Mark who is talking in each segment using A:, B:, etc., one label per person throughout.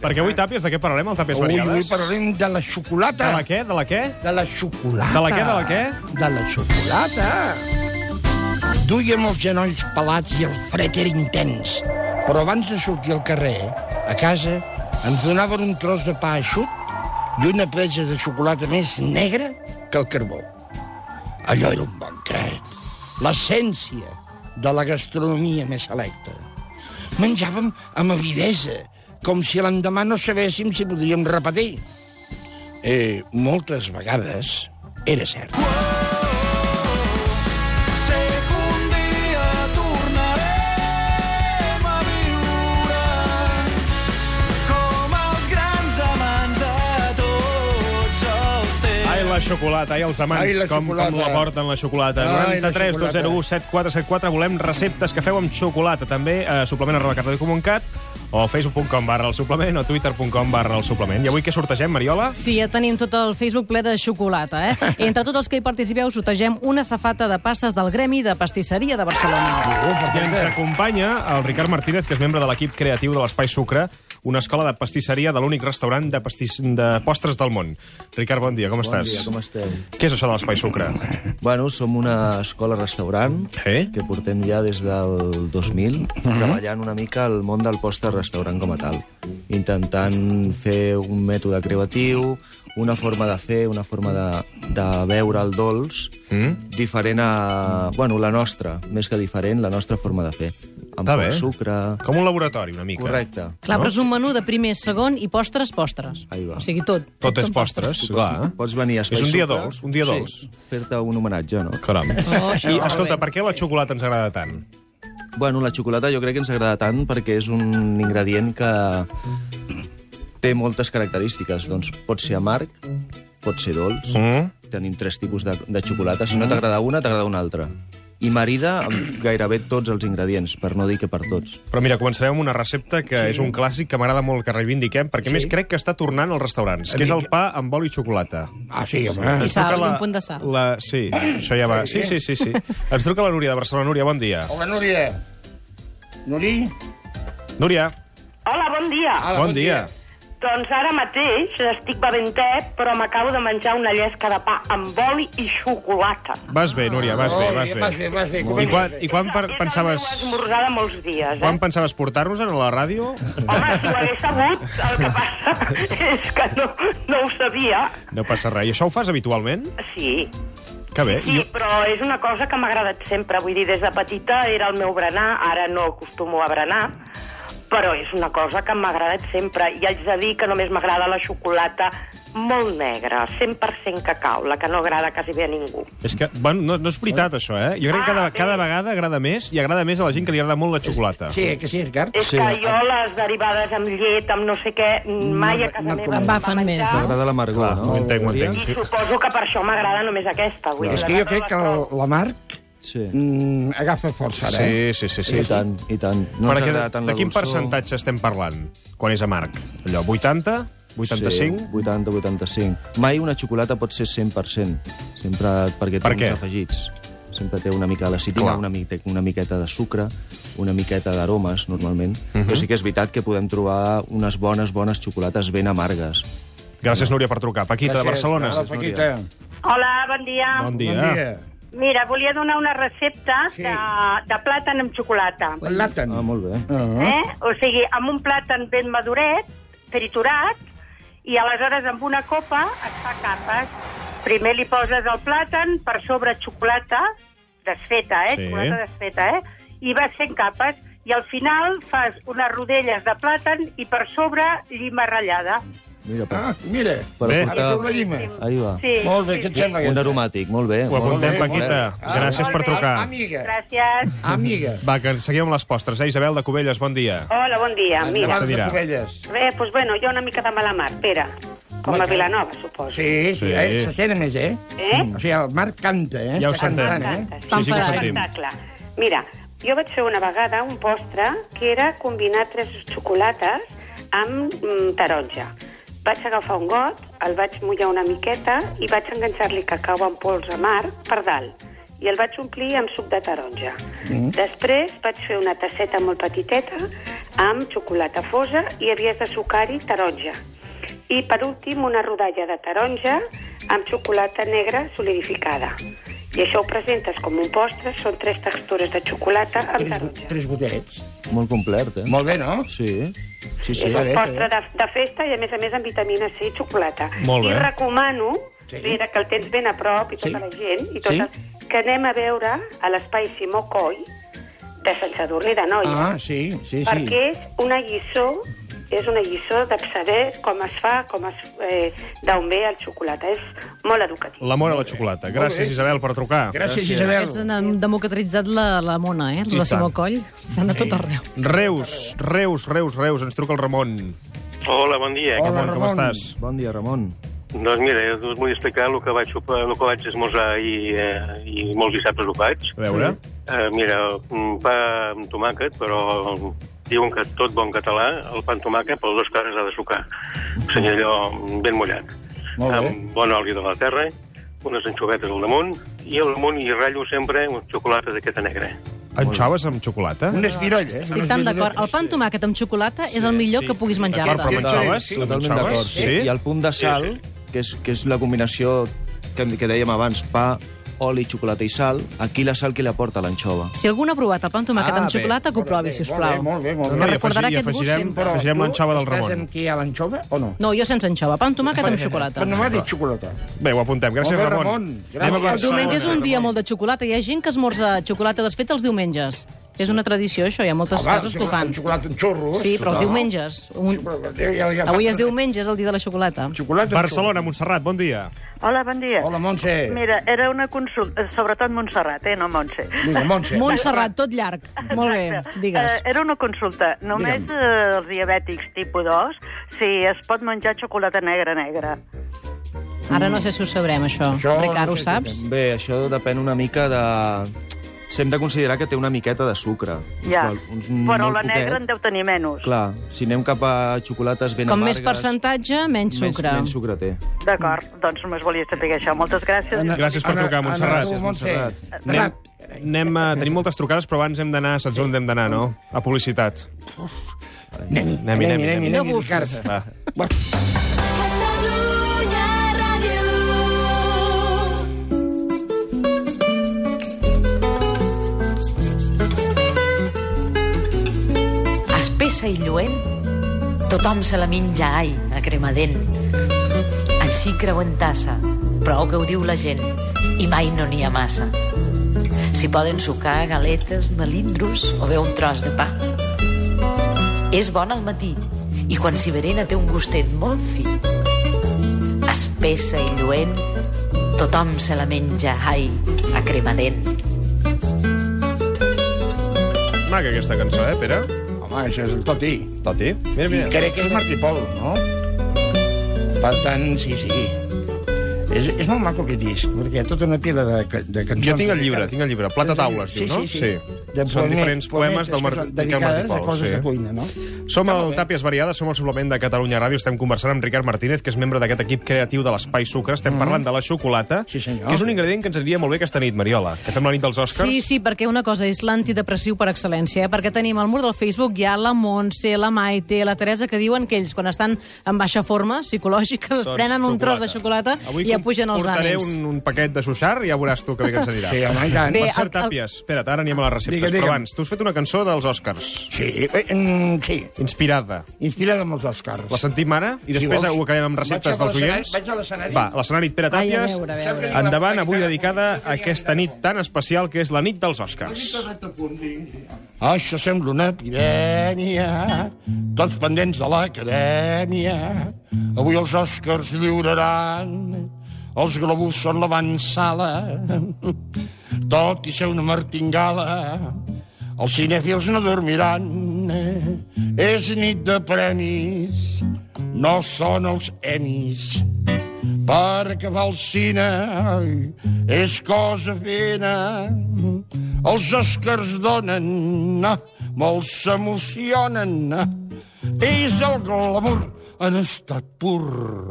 A: Perquè avui, Tàpies, de què parlarem, al Tàpies
B: Avui,
A: Variades?
B: avui parlarem de la xocolata.
A: De la què? De la què?
B: De la xocolata.
A: De la què, de la què?
B: De la xocolata. Duíem els genolls pelats i el fred era intens. Però abans de sortir al carrer, a casa, ens donaven un tros de pa aixut i una presa de xocolata més negra que el carbó. Allò era un bon tret. L'essència de la gastronomia més selecta. Menjàvem amb avidesa, com si l'endemà no sabéssim si podríem repetir. Eh, moltes vegades era cert.
C: Sé que un dia tornarem a viure com els grans amants de tots els temps.
A: Ai, la xocolata, ai, els amants,
B: Ai, la
A: com, com
B: xocolata.
A: la porten, la xocolata.
B: Ai, la
A: 93
B: xocolata.
A: 201 7474, volem receptes que feu amb xocolata. També a suplement arroba cardecomuncat o facebook.com barra el suplement o twitter.com barra el suplement. I avui què sortegem, Mariola?
D: Sí, ja tenim tot el Facebook ple de xocolata, eh? Entre tots els que hi participeu, sortegem una safata de passes del Gremi de Pastisseria de Barcelona.
A: I ens acompanya el Ricard Martínez, que és membre de l'equip creatiu de l'Espai Sucre, una escola de pastisseria de l'únic restaurant de, pastis... de postres del món. Ricard, bon dia, com
E: Bon
A: estàs?
E: dia, com esteu?
A: Què és això de l'Espai Sucre?
B: Eh?
E: Bueno, som una escola-restaurant
A: Eh?
E: que portem ja des del 2000 treballant una mica el món del postre-restaurant com a tal, intentant fer un mètode creatiu, una forma de fer, una forma de, de veure el dolç
A: Mm.
E: diferent a... Bueno, la nostra, més que diferent, la nostra forma de fer. Amb
A: Està
E: poc
A: bé.
E: sucre...
A: Com un laboratori, una mica.
E: Correcte.
D: Clar, però és un menú de primer, segon i postres, postres.
E: Ahí va.
D: O sigui, tot.
A: Tot és
D: són
A: postres, clar.
E: Pots venir a Espai
A: És un dia
E: Sucre,
A: dolç, un dia dolç.
E: Sí, fer-te un homenatge, no?
A: Caram.
D: Oh, això
A: I,
D: està
A: escolta,
D: molt bé.
A: per què la xocolata ens agrada tant?
E: Bueno, la xocolata jo crec que ens agrada tant perquè és un ingredient que té moltes característiques. Doncs pot ser amarg, pot ser dolç.
A: Mm?
E: Tenim tres tipus de, de xocolata. Si no t'agrada una, t'agrada una altra. I marida amb gairebé tots els ingredients, per no dir que per tots.
A: Però mira, començarem amb una recepta que sí. és un clàssic que m'agrada molt que reivindiquem, perquè sí. més crec que està tornant als restaurants, que és el pa amb oli i xocolata.
B: Ah, sí, home.
D: I
A: Ens truca
D: sal, i un punt de sal.
A: La... Sí, això ja va. Sí, sí, sí, sí. Ens truca la Núria de Barcelona. Núria, bon dia.
B: Hola, Núria. Núria?
A: Núria,
F: Hola, bon dia.
B: Hola,
A: bon, dia.
F: Doncs ara mateix estic beventet, però m'acabo de menjar una llesca de pa amb oli i xocolata.
A: Vas bé, Núria, vas bé, vas
B: Vas
A: bé.
B: bé, vas bé.
A: I quan, i quan per,
F: És
A: pensaves...
F: el meu esmorzar de molts dies, eh?
A: Quan pensaves portar-nos a la ràdio?
F: Home, si ho hagués sabut, el que passa és que no, no ho sabia.
A: No passa res. I això ho fas habitualment?
F: Sí,
A: Que bé.
F: sí, però és una cosa que m'ha agradat sempre. Vull dir, des de petita era el meu berenar, ara no acostumo a berenar, però és una cosa que m'ha agradat sempre. I haig de dir que només m'agrada la xocolata molt negra, 100% cacau, la que no agrada quasi bé a ningú.
A: És que, bueno, no, no és veritat, això, eh? Jo crec que cada,
F: Ah, sí.
A: cada vegada agrada més i agrada més a la gent que li agrada molt la xocolata.
B: Sí, que sí, eh, Ricard?
F: És
E: Sí,
F: sí, que jo les derivades amb llet, amb no sé què, mai a casa
B: no
F: meva
B: conec.
F: em
D: Em
F: va
D: bafen més,
B: eh.
F: menjar.
E: T'agrada l'amargor,
A: Ho
E: no?
A: entenc, ho entenc.
F: I suposo que per això m'agrada només aquesta. Vull dir,
B: És
F: les
B: que jo
F: altres
B: crec que
F: les
B: el-
F: trobo-
B: la Marc
E: Sí,
B: mm, agafa força ara. eh?
A: Sí, sí, sí. sí.
E: i tant, i tant. No ens
A: Perquè de,
E: agrada tant
A: de
E: la
A: quin
E: dolçor.
A: percentatge estem parlant quan és amarg? Allò, 80? 85?
E: Sí, 80, 85. Mai una xocolata pot ser 100%, sempre perquè té
A: Per què?
E: uns afegits. Sempre té una mica de lecitina,
A: Clar.
E: una, mica, una miqueta de sucre, una miqueta d'aromes, normalment. Uh
A: Mhm.
E: -huh. Però sí que és veritat que podem trobar unes bones, bones xocolates ben amargues.
A: Gràcies, Núria, per trucar. Paquita, de Barcelona.
B: Hola, Paquita.
F: Hola, bon dia.
A: Bon
B: Bon
A: dia.
B: dia.
F: Mira, volia donar una recepta
B: Sí.
F: sí. de, de plàtan amb xocolata.
B: El Làtan.
E: Ah, molt bé.
B: Ah.
F: Eh? O sigui, amb un plàtan ben maduret, triturat, i aleshores amb una copa es fa capes. Primer li poses el plàtan, per sobre xocolata, desfeta, eh?
A: Sí.
F: Xocolata desfeta, eh? I vas fent capes. I al final fas unes rodelles de plàtan i per sobre llima ratllada.
E: Mira, per,
B: Ah, mira.
E: per
A: Bé.
B: Ara sou la
E: portar...
B: llima.
E: Ahí va.
F: Sí,
B: Molt bé,
F: sí,
B: què et
F: sí.
B: sembla
E: Un
B: aquesta?
E: aromàtic, molt bé.
A: Ho apuntem,
B: molt bé.
A: Paquita.
B: Ah,
A: Gràcies
F: molt
A: per
F: bé.
A: trucar.
B: Amiga,
F: Gràcies.
B: amiga.
A: Va, que seguim amb les postres. Eh? Isabel de Cubelles, bon dia.
F: Hola, bon dia. Mira,
B: Endavant de
A: Mira.
B: Covelles.
F: Bé, doncs bueno, jo una mica de mala mar, Pere. Com a
B: Home,
F: Vilanova, suposo.
B: Sí,
A: Sí.
B: sí, eh? se sent a més, eh?
F: Eh?
B: O sigui, el Marc canta, eh?
A: Ja ho
B: Està
A: sentim.
B: cantant, eh?
F: Canta,
A: Sí,
F: sí.
A: sí, que ho
D: Pam,
A: sentim.
F: Està clar. Mira, jo vaig fer una vegada un postre que era combinar tres xocolates amb mm, taronja. Vaig agafar un got, el vaig mullar una miqueta i vaig enganxar-li cacau en pols amarg per dalt i el vaig omplir amb suc de taronja. Mm. Després vaig fer una tasseta molt petiteta, amb xocolata fosa i havies de sucar-hi taronja. I, per últim, una rodalla de taronja amb xocolata negra solidificada. I això ho presentes com un postre, són tres textures de xocolata amb
B: Tres,
F: taronja.
B: tres gotets.
E: Molt complet, eh?
B: Molt bé, no?
E: Sí, sí,
F: Sí,
E: sí.
F: és un
B: bé,
F: postre de, de festa i, a més a més, amb vitamina C i xocolata.
A: Molt bé.
F: I recomano,
B: Sí.
F: sí. mira, que el tens ben a prop i
B: Sí.
F: tota la gent, i tot
B: Sí.
F: el, que anem a veure a l'espai Simó Coll de Sant Sadurní de Noia.
B: Ah, sí, sí, sí.
F: Perquè és una lliçó, és una lliçó de saber com es fa, com es, eh, d'on ve el xocolata. És molt educatiu.
A: L'amor a la xocolata. Gràcies, Isabel, per trucar.
B: Gràcies, Isabel.
D: Aquests han democratitzat la, la mona, eh? Els
A: I
D: de Simó
A: tant. Eh?
D: Coll. Estan a tot arreu.
A: Reus, Reus, Reus, Reus, ens truca el Ramon.
G: Hola, bon dia.
B: Hola,
A: Ramon, com
B: Ramon.
A: estàs?
E: Bon dia, Ramon.
G: Doncs mira, jo us vull explicar el que vaig, sopar, el que vaig esmorzar i, eh, i molts dissabtes ho faig.
A: A veure.
G: Eh, mira, un pa amb tomàquet, però diuen que tot bon català, el pa amb tomàquet, per dos cares ha de sucar. O sigui, allò ben mullat.
B: Molt bé.
G: Amb bon oli de la terra, unes anxovetes al damunt, i al damunt hi ratllo sempre una xocolata d'aquesta negra.
A: Anxoves amb xocolata?
B: Un esbiroll, eh?
D: Estic tan d'acord. El pa amb tomàquet amb xocolata és el millor que puguis
A: D'acord, però
D: menjar-te.
A: amb anxoves?
B: Sí, sí,
A: amb
E: Totalment
A: anxoves?
E: d'acord, sí. I el punt de sal, que és, que és la combinació que, que dèiem abans, pa, oli, xocolata i sal, aquí la sal que la porta l'anxova.
D: Si algú n'ha provat el pa amb tomàquet
B: Ah,
D: amb
B: bé.
D: xocolata, que ho provi, sisplau.
B: Molt bé,
A: No, no,
B: molt bé,
D: Me
A: i
B: molt bé.
D: recordarà
A: afegir- i
D: aquest gust
A: afegirem-
D: sempre.
A: afegirem l'anxova del
B: Estàs
A: Ramon.
B: amb qui, a l'anxova o no?
D: No, jo sense anxova. Pa amb tomàquet amb xocolata.
B: Però no m'ha dit xocolata.
A: Bé, ho apuntem. Gràcies,
B: Molt bé,
A: Ramon.
B: Ramon. Gràcies.
A: Anem a
D: El diumenge és
A: Barcelona.
D: un dia molt de xocolata. Hi ha gent que esmorza xocolata desfeta els diumenges. És una tradició, això. Hi ha moltes cases que ho fan.
B: Amb xocolata eh? amb xorros.
D: Sí, però els diumenges. Un... Avui és diumenge, és el dia de la xocolata.
B: Xocolata amb
A: Barcelona, Montserrat, bon dia.
H: Hola, bon dia.
B: xorros. Hola, Montse.
H: Mira, era una consulta, sobretot Montserrat, eh, no Montse.
B: Vinga, Montse.
D: Montserrat, tot llarg. Molt bé, digues.
H: Eh, era una consulta. Només
B: Digue'm.
H: eh, els diabètics tipus 2, si es pot menjar xocolata negra negra.
D: Ara no sé si ho sabrem, això.
B: Això no
D: Ricard, ho
B: sé si
D: saps?
E: Bé, això depèn una mica de... S'hem de considerar que té una miqueta de sucre.
H: Ja.
E: Uns, uns,
H: Però
E: molt
H: la negra
E: poquet.
H: en deu tenir menys.
E: Clar, si anem cap a xocolates ben
D: Com
E: amargues...
D: més percentatge, menys sucre.
E: Menys, menys sucre té.
H: D'acord, doncs només volia saber això. Moltes gràcies.
A: Gràcies per
B: Ana-
A: trucar,
B: Ana-
A: Montserrat.
B: Ana-
E: Montserrat.
B: Montse.
A: Anem,
B: Rap.
A: anem a... Tenim moltes trucades, però abans hem d'anar, saps on hem d'anar, no? A publicitat.
B: Anem-hi,
A: Anem-hi,
B: anem-hi,
A: anem-hi.
B: anem-hi,
D: No
B: Ricard.
A: Va.
B: Va.
I: Catalunya Ràdio.
J: espessa i lluent, tothom se la minja ai, a cremadent. Així creu en tassa, prou que ho diu la gent, i mai no n'hi ha massa. S'hi poden sucar galetes, melindros o bé un tros de pa. És bon al matí, i quan s'hi berena té un gustet molt fi. Espessa i lluent, tothom se la menja ai, a cremadent.
A: Maca, aquesta cançó, eh, Pere?
B: Home, això és el Toti.
A: Toti. Mira, mira.
B: Crec que és Martí Pol, no? Per tant, sí, sí. És, és molt maco aquest disc, perquè hi ha tota una pila de, ca- de cançons...
A: Jo tinc el
B: dedicades.
A: llibre, tinc el llibre. Plata Taules,
B: sí,
A: diu, no?
B: Sí, Doncs sí.
A: Sí. Són diferents poemes del Mar- Miquel
B: Dedicades
A: Martí
B: a
A: Pol,
B: coses
A: sí.
B: de cuina, no?
A: Som al Tàpies Variades, som el suplement de Catalunya Ràdio. Estem conversant amb Ricard Martínez, que és membre d'aquest equip creatiu de l'Espai Sucre. Estem parlant de la xocolata,
B: Mhm. Sí, senyor.
A: que és un ingredient que ens aniria molt bé aquesta nit, Mariola. Que fem la nit dels Oscars.
D: Sí, sí, perquè una cosa és l'antidepressiu per excel·lència, eh? perquè tenim al mur del Facebook hi ha la Montse, la Maite, la Teresa, que diuen que ells, quan estan en baixa forma psicològica, es
A: Doncs,
D: prenen un tros de xocolata
A: Avui
D: i apugen els
A: portaré
D: ànims.
A: un, un paquet de suixar i ja veuràs tu que bé que ens anirà.
B: Sí, home, i tant.
D: Bé,
A: Per
D: el-
A: cert,
D: el-
A: Tàpies, espera't, ara anem a les receptes.
B: Digue'm, digue'm.
A: Però abans, tu has fet una cançó dels Oscars,
B: Sí, eh, mm, sí.
A: inspirada.
B: Inspirada amb els Oscars.
A: La sentim ara i
B: Si
A: després
B: vols.
A: ho acabem amb receptes
B: Vaig a
A: dels
B: l'escenari-
A: oients.
B: vaig a l'escenari.
A: Va, l'escenari Pere
D: Ai, a
A: Tàpies.
D: veure, a veure, a veure.
A: Endavant, avui dedicada a aquesta nit tan especial que és la nit dels Oscars.
B: Això sembla una epidèmia, tots pendents de l'acadèmia. Avui els Oscars lliuraran, els globus són l'avançala. Tot i ser una martingala, els cinèfils no dormiran. És nit de premis, no són els emis. Per acabar el cine ai, és cosa fina. Els Oscars donen, ah, molts s'emocionen. ah. És el glamour en estat pur.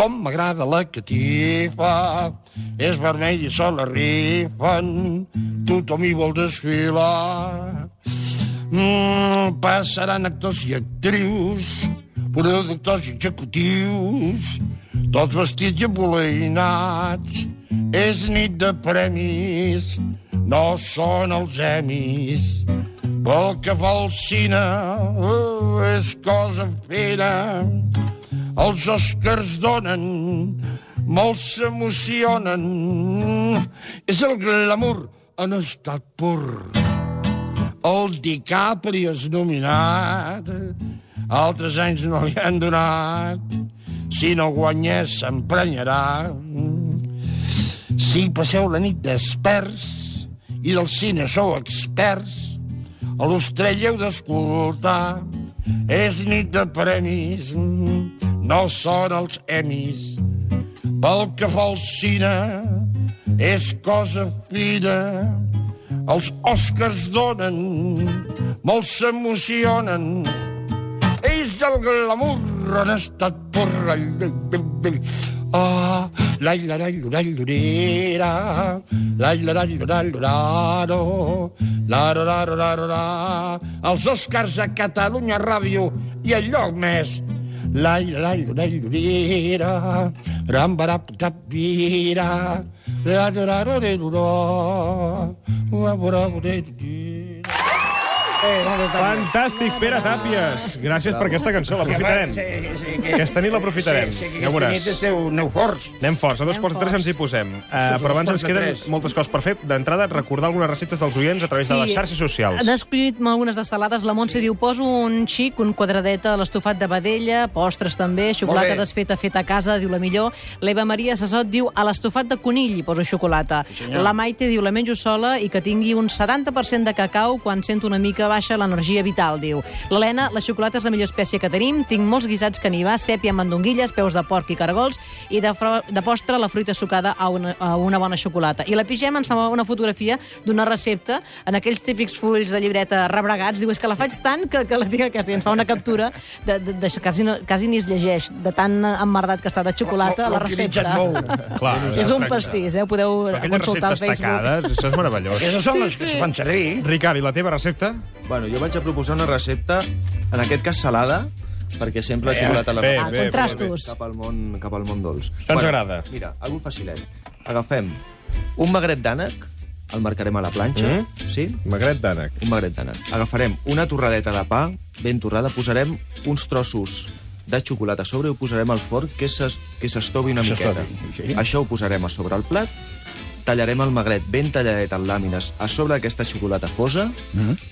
B: Com m'agrada la catifa, és vermell i se la rifen, tothom hi vol desfilar. Mm, passaran actors i actrius, productors i executius, tots vestits i aboleïnats. És nit de premis, no són els emis. Pel que fa al cine, uh, és cosa fera. Els Oscars donen, molts s'emocionen. És el glamour en estat pur el DiCaprio és nominat, altres anys no li han donat, si no guanyés s'emprenyarà. Si passeu la nit d'experts i del cine sou experts, a l'Ostrell heu d'escoltar, és nit de premis, no són els emis. Pel que fa al cine, és cosa fina, els Oscars donen, molts s'emocionen. És el glamour en estat pur. Ah, la la la la la la la la la la la la no. la la la la la la la Els Oscars a Catalunya Ràdio i el lloc més. La la la la la rambaraptapira la la la la la la la
A: Fantàstic, Pere Tàpies. Gràcies per aquesta cançó, l'aprofitarem. Aquesta nit l'aprofitarem.
B: Sí, sí,
A: Ja ho
B: aquesta
A: veuràs.
B: nit esteu aneu forts.
A: Anem forts, a dos quarts de tres ens hi posem. Uh, però abans ens queden moltes coses per fer. D'entrada, recordar algunes receptes dels oients a través de les xarxes socials.
D: N'ha escollit algunes de salades. La Montse sí. diu, poso un xic, un quadradet a l'estofat de vedella, postres també, xocolata
B: bé.
D: desfeta feta a casa, diu la millor. L'Eva Maria Sassot diu, a l'estofat de conill hi poso xocolata. Sí, la Maite diu, la menjo sola i que tingui un 70% de cacau quan sento una mica baixa l'energia vital, diu. L'Helena, la xocolata és la millor espècie que tenim, tinc molts guisats que n'hi va, sèpia, mandonguilles, peus de porc i cargols, i de, fro- de postre la fruita sucada a una, a una bona xocolata. I la pigem ens fa una fotografia d'una recepta en aquells típics fulls de llibreta rebregats. Diu, és que la faig tant que, que la tinc a casa. I ens fa una captura de, de, de, quasi, no, quasi ni es llegeix, de tan emmerdat que està de xocolata
B: L'heu
D: la recepta.
B: utilitzat molt.
A: Clar,
D: És un pastís, eh? Ho podeu
A: Aquelles
D: consultar al
A: receptes
D: Facebook.
A: tacades, això és meravellós.
B: Aquestes són les que es van servir.
A: Ricard, i la teva recepta?
E: Bueno, jo vaig a proposar una recepta, en aquest cas salada, perquè sempre la xocolata la
A: bé,
D: Ah,
A: bé,
D: contrastos.
E: cap al món, cap al món dolç.
A: Això ens agrada.
E: Mira, algo facilet. Agafem un magret d'ànec, el marcarem a la planxa,
A: Mhm.
E: sí?
A: Magret d'ànec.
E: Un magret d'ànec. Agafarem una torradeta de pa, ben torrada, posarem uns trossos de xocolata a sobre i ho posarem al forn que s'es- que s'estovi una miqueta. Això ho posarem a sobre el plat, tallarem el magret ben talladet en làmines a sobre d'aquesta xocolata fosa,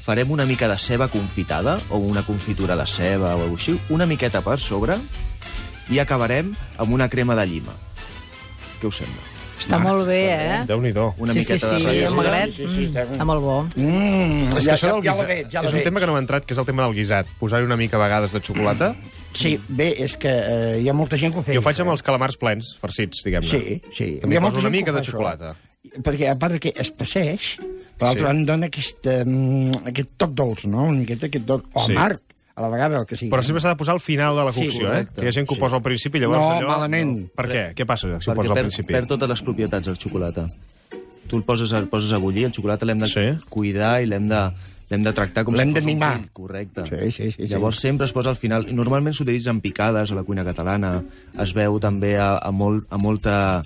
E: farem una mica de ceba confitada, o una confitura de ceba o alguna cosa així, una miqueta per sobre, i acabarem amb una crema de llima. Què us sembla?
D: Està molt bé, eh?
A: Déu-n'hi-do.
E: Una
D: sí, sí,
E: miqueta
D: sí,
E: de
D: sí,
E: ralladura.
D: el magret.
B: Sí, sí,
D: mm,
B: està-
D: Està molt bo.
B: Mm,
A: És que això
B: ja,
A: del
B: ja, ja la
A: guisat
B: veig, ja la
A: és un
B: veig.
A: tema que no m'ha entrat, que és el tema del guisat. Posar-hi una mica a vegades de xocolata.
B: Sí, bé, és que eh, hi ha molta gent que ho fa.
A: Jo ho faig amb els calamars plens, farcits, diguem-ne.
B: Sí, sí.
A: També
B: Hi ha molta
A: poso una
B: gent que
A: mica
B: ho
A: de
B: fa, això. eh?
A: xocolata.
B: Perquè a part que es passeix, per l'altra
A: Sí.
B: sí. banda dona aquest, um, aquest toc dolç, no? Una miqueta aquest dolç, o
A: Sí.
B: sí. amarg, a la vegada, el que sigui.
A: Però sempre s'ha de posar al final de la
B: Sí,
A: cocció, eh?
E: correcte.
A: Que hi ha gent que ho posa al principi i llavors
B: No,
A: allò...
B: malament.
A: Per què? Què passa si ho
E: perquè
A: posa al
E: perd,
A: principi?
E: perd totes les propietats del xocolata. Tu el poses, el poses a bullir, el xocolata l'hem de
A: Sí.
E: sí. cuidar i l'hem de, l'hem de tractar com
B: L'hem
E: si
B: de
E: fos un
B: mimar.
E: fill, Correcte.
B: Sí, sí, sí, sí.
E: Llavors sempre es posa al final. I Normalment s'utilitza en picades a la cuina catalana. Es veu també a, a, molt, a molta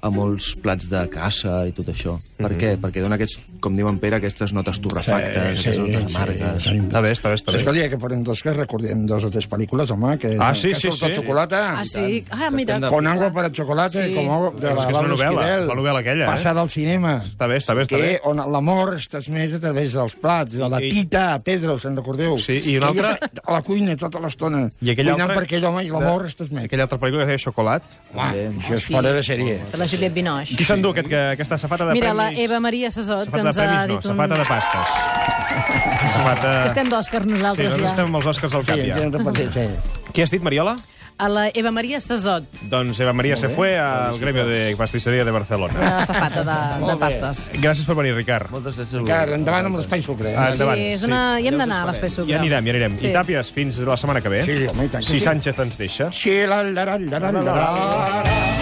E: a molts plats de caça i tot això. Per
B: Mm.
E: què? Perquè dona aquests, com diu en Pere, aquestes notes torrefactes, aquestes notes amargues.
A: Està bé, està bé, està bé.
B: Escolta, ja que parlem d'Òscar, recordem dos o tres pel·lícules, home, que,
A: Ah, sí,
B: que
A: sí,
B: surt el
A: sí.
B: xocolata.
D: Ah, sí? Ah, mira.
E: de-
B: Con agua para chocolate,
D: Sí.
B: sí. com agua de
A: És
B: la
A: que és una
B: Laura
A: novel·la,
B: Esquivel.
A: la novel·la aquella, eh?
B: Passada al cinema.
A: Està bé, està bé, està bé.
B: que on l'amor es transmet a través dels plats, de la
A: I-
B: tita, a Pedro, se'n recordeu?
A: Sí, i una
B: Ella
A: altra-
B: està A la cuina tota l'estona,
A: I aquella
B: cuinant
A: altra-
B: per aquell home i l'amor es transmet.
A: Aquella altra pel·lícula que deia Xocolat.
B: Uah, això és fora de sèrie.
D: De la Juliette Binoche.
A: Qui s'endú aquest, que, aquesta safata de
D: Mira, la
A: premis?
D: Eva Maria Sassot, que
A: Safata de
D: ens ha
A: premis, no,
D: dit un...
A: safata de pastes. Safata...
D: Que estem d'Òscar
A: Sí,
D: nosaltres,
A: nosaltres
D: ja.
A: estem amb els Oscars al
B: Sí,
A: cap,
B: ens
A: ja.
B: hem repetit, sí.
A: Què has dit, Mariola?
D: A la Eva Maria Sassot,
A: Doncs Eva Maria se fue al gremio de pastisseria de
B: Ah.
A: Barcelona.
D: una safata eh, de, de pastes.
A: Gràcies per venir, Ricard.
E: Moltes gràcies.
B: Car, endavant amb l'espai sucre.
A: Ah, endavant,
D: sí, és una...
A: sí.
D: Hi hem d'anar a l'espai sucre.
A: Ja anirem, ja anirem.
D: Sí.
A: I Tàpies, fins la setmana que ve.
B: Sí, home, i tant que
A: Si
B: sí.
A: Sánchez ens deixa.
B: Sí, la, la, la, la, la, la, la.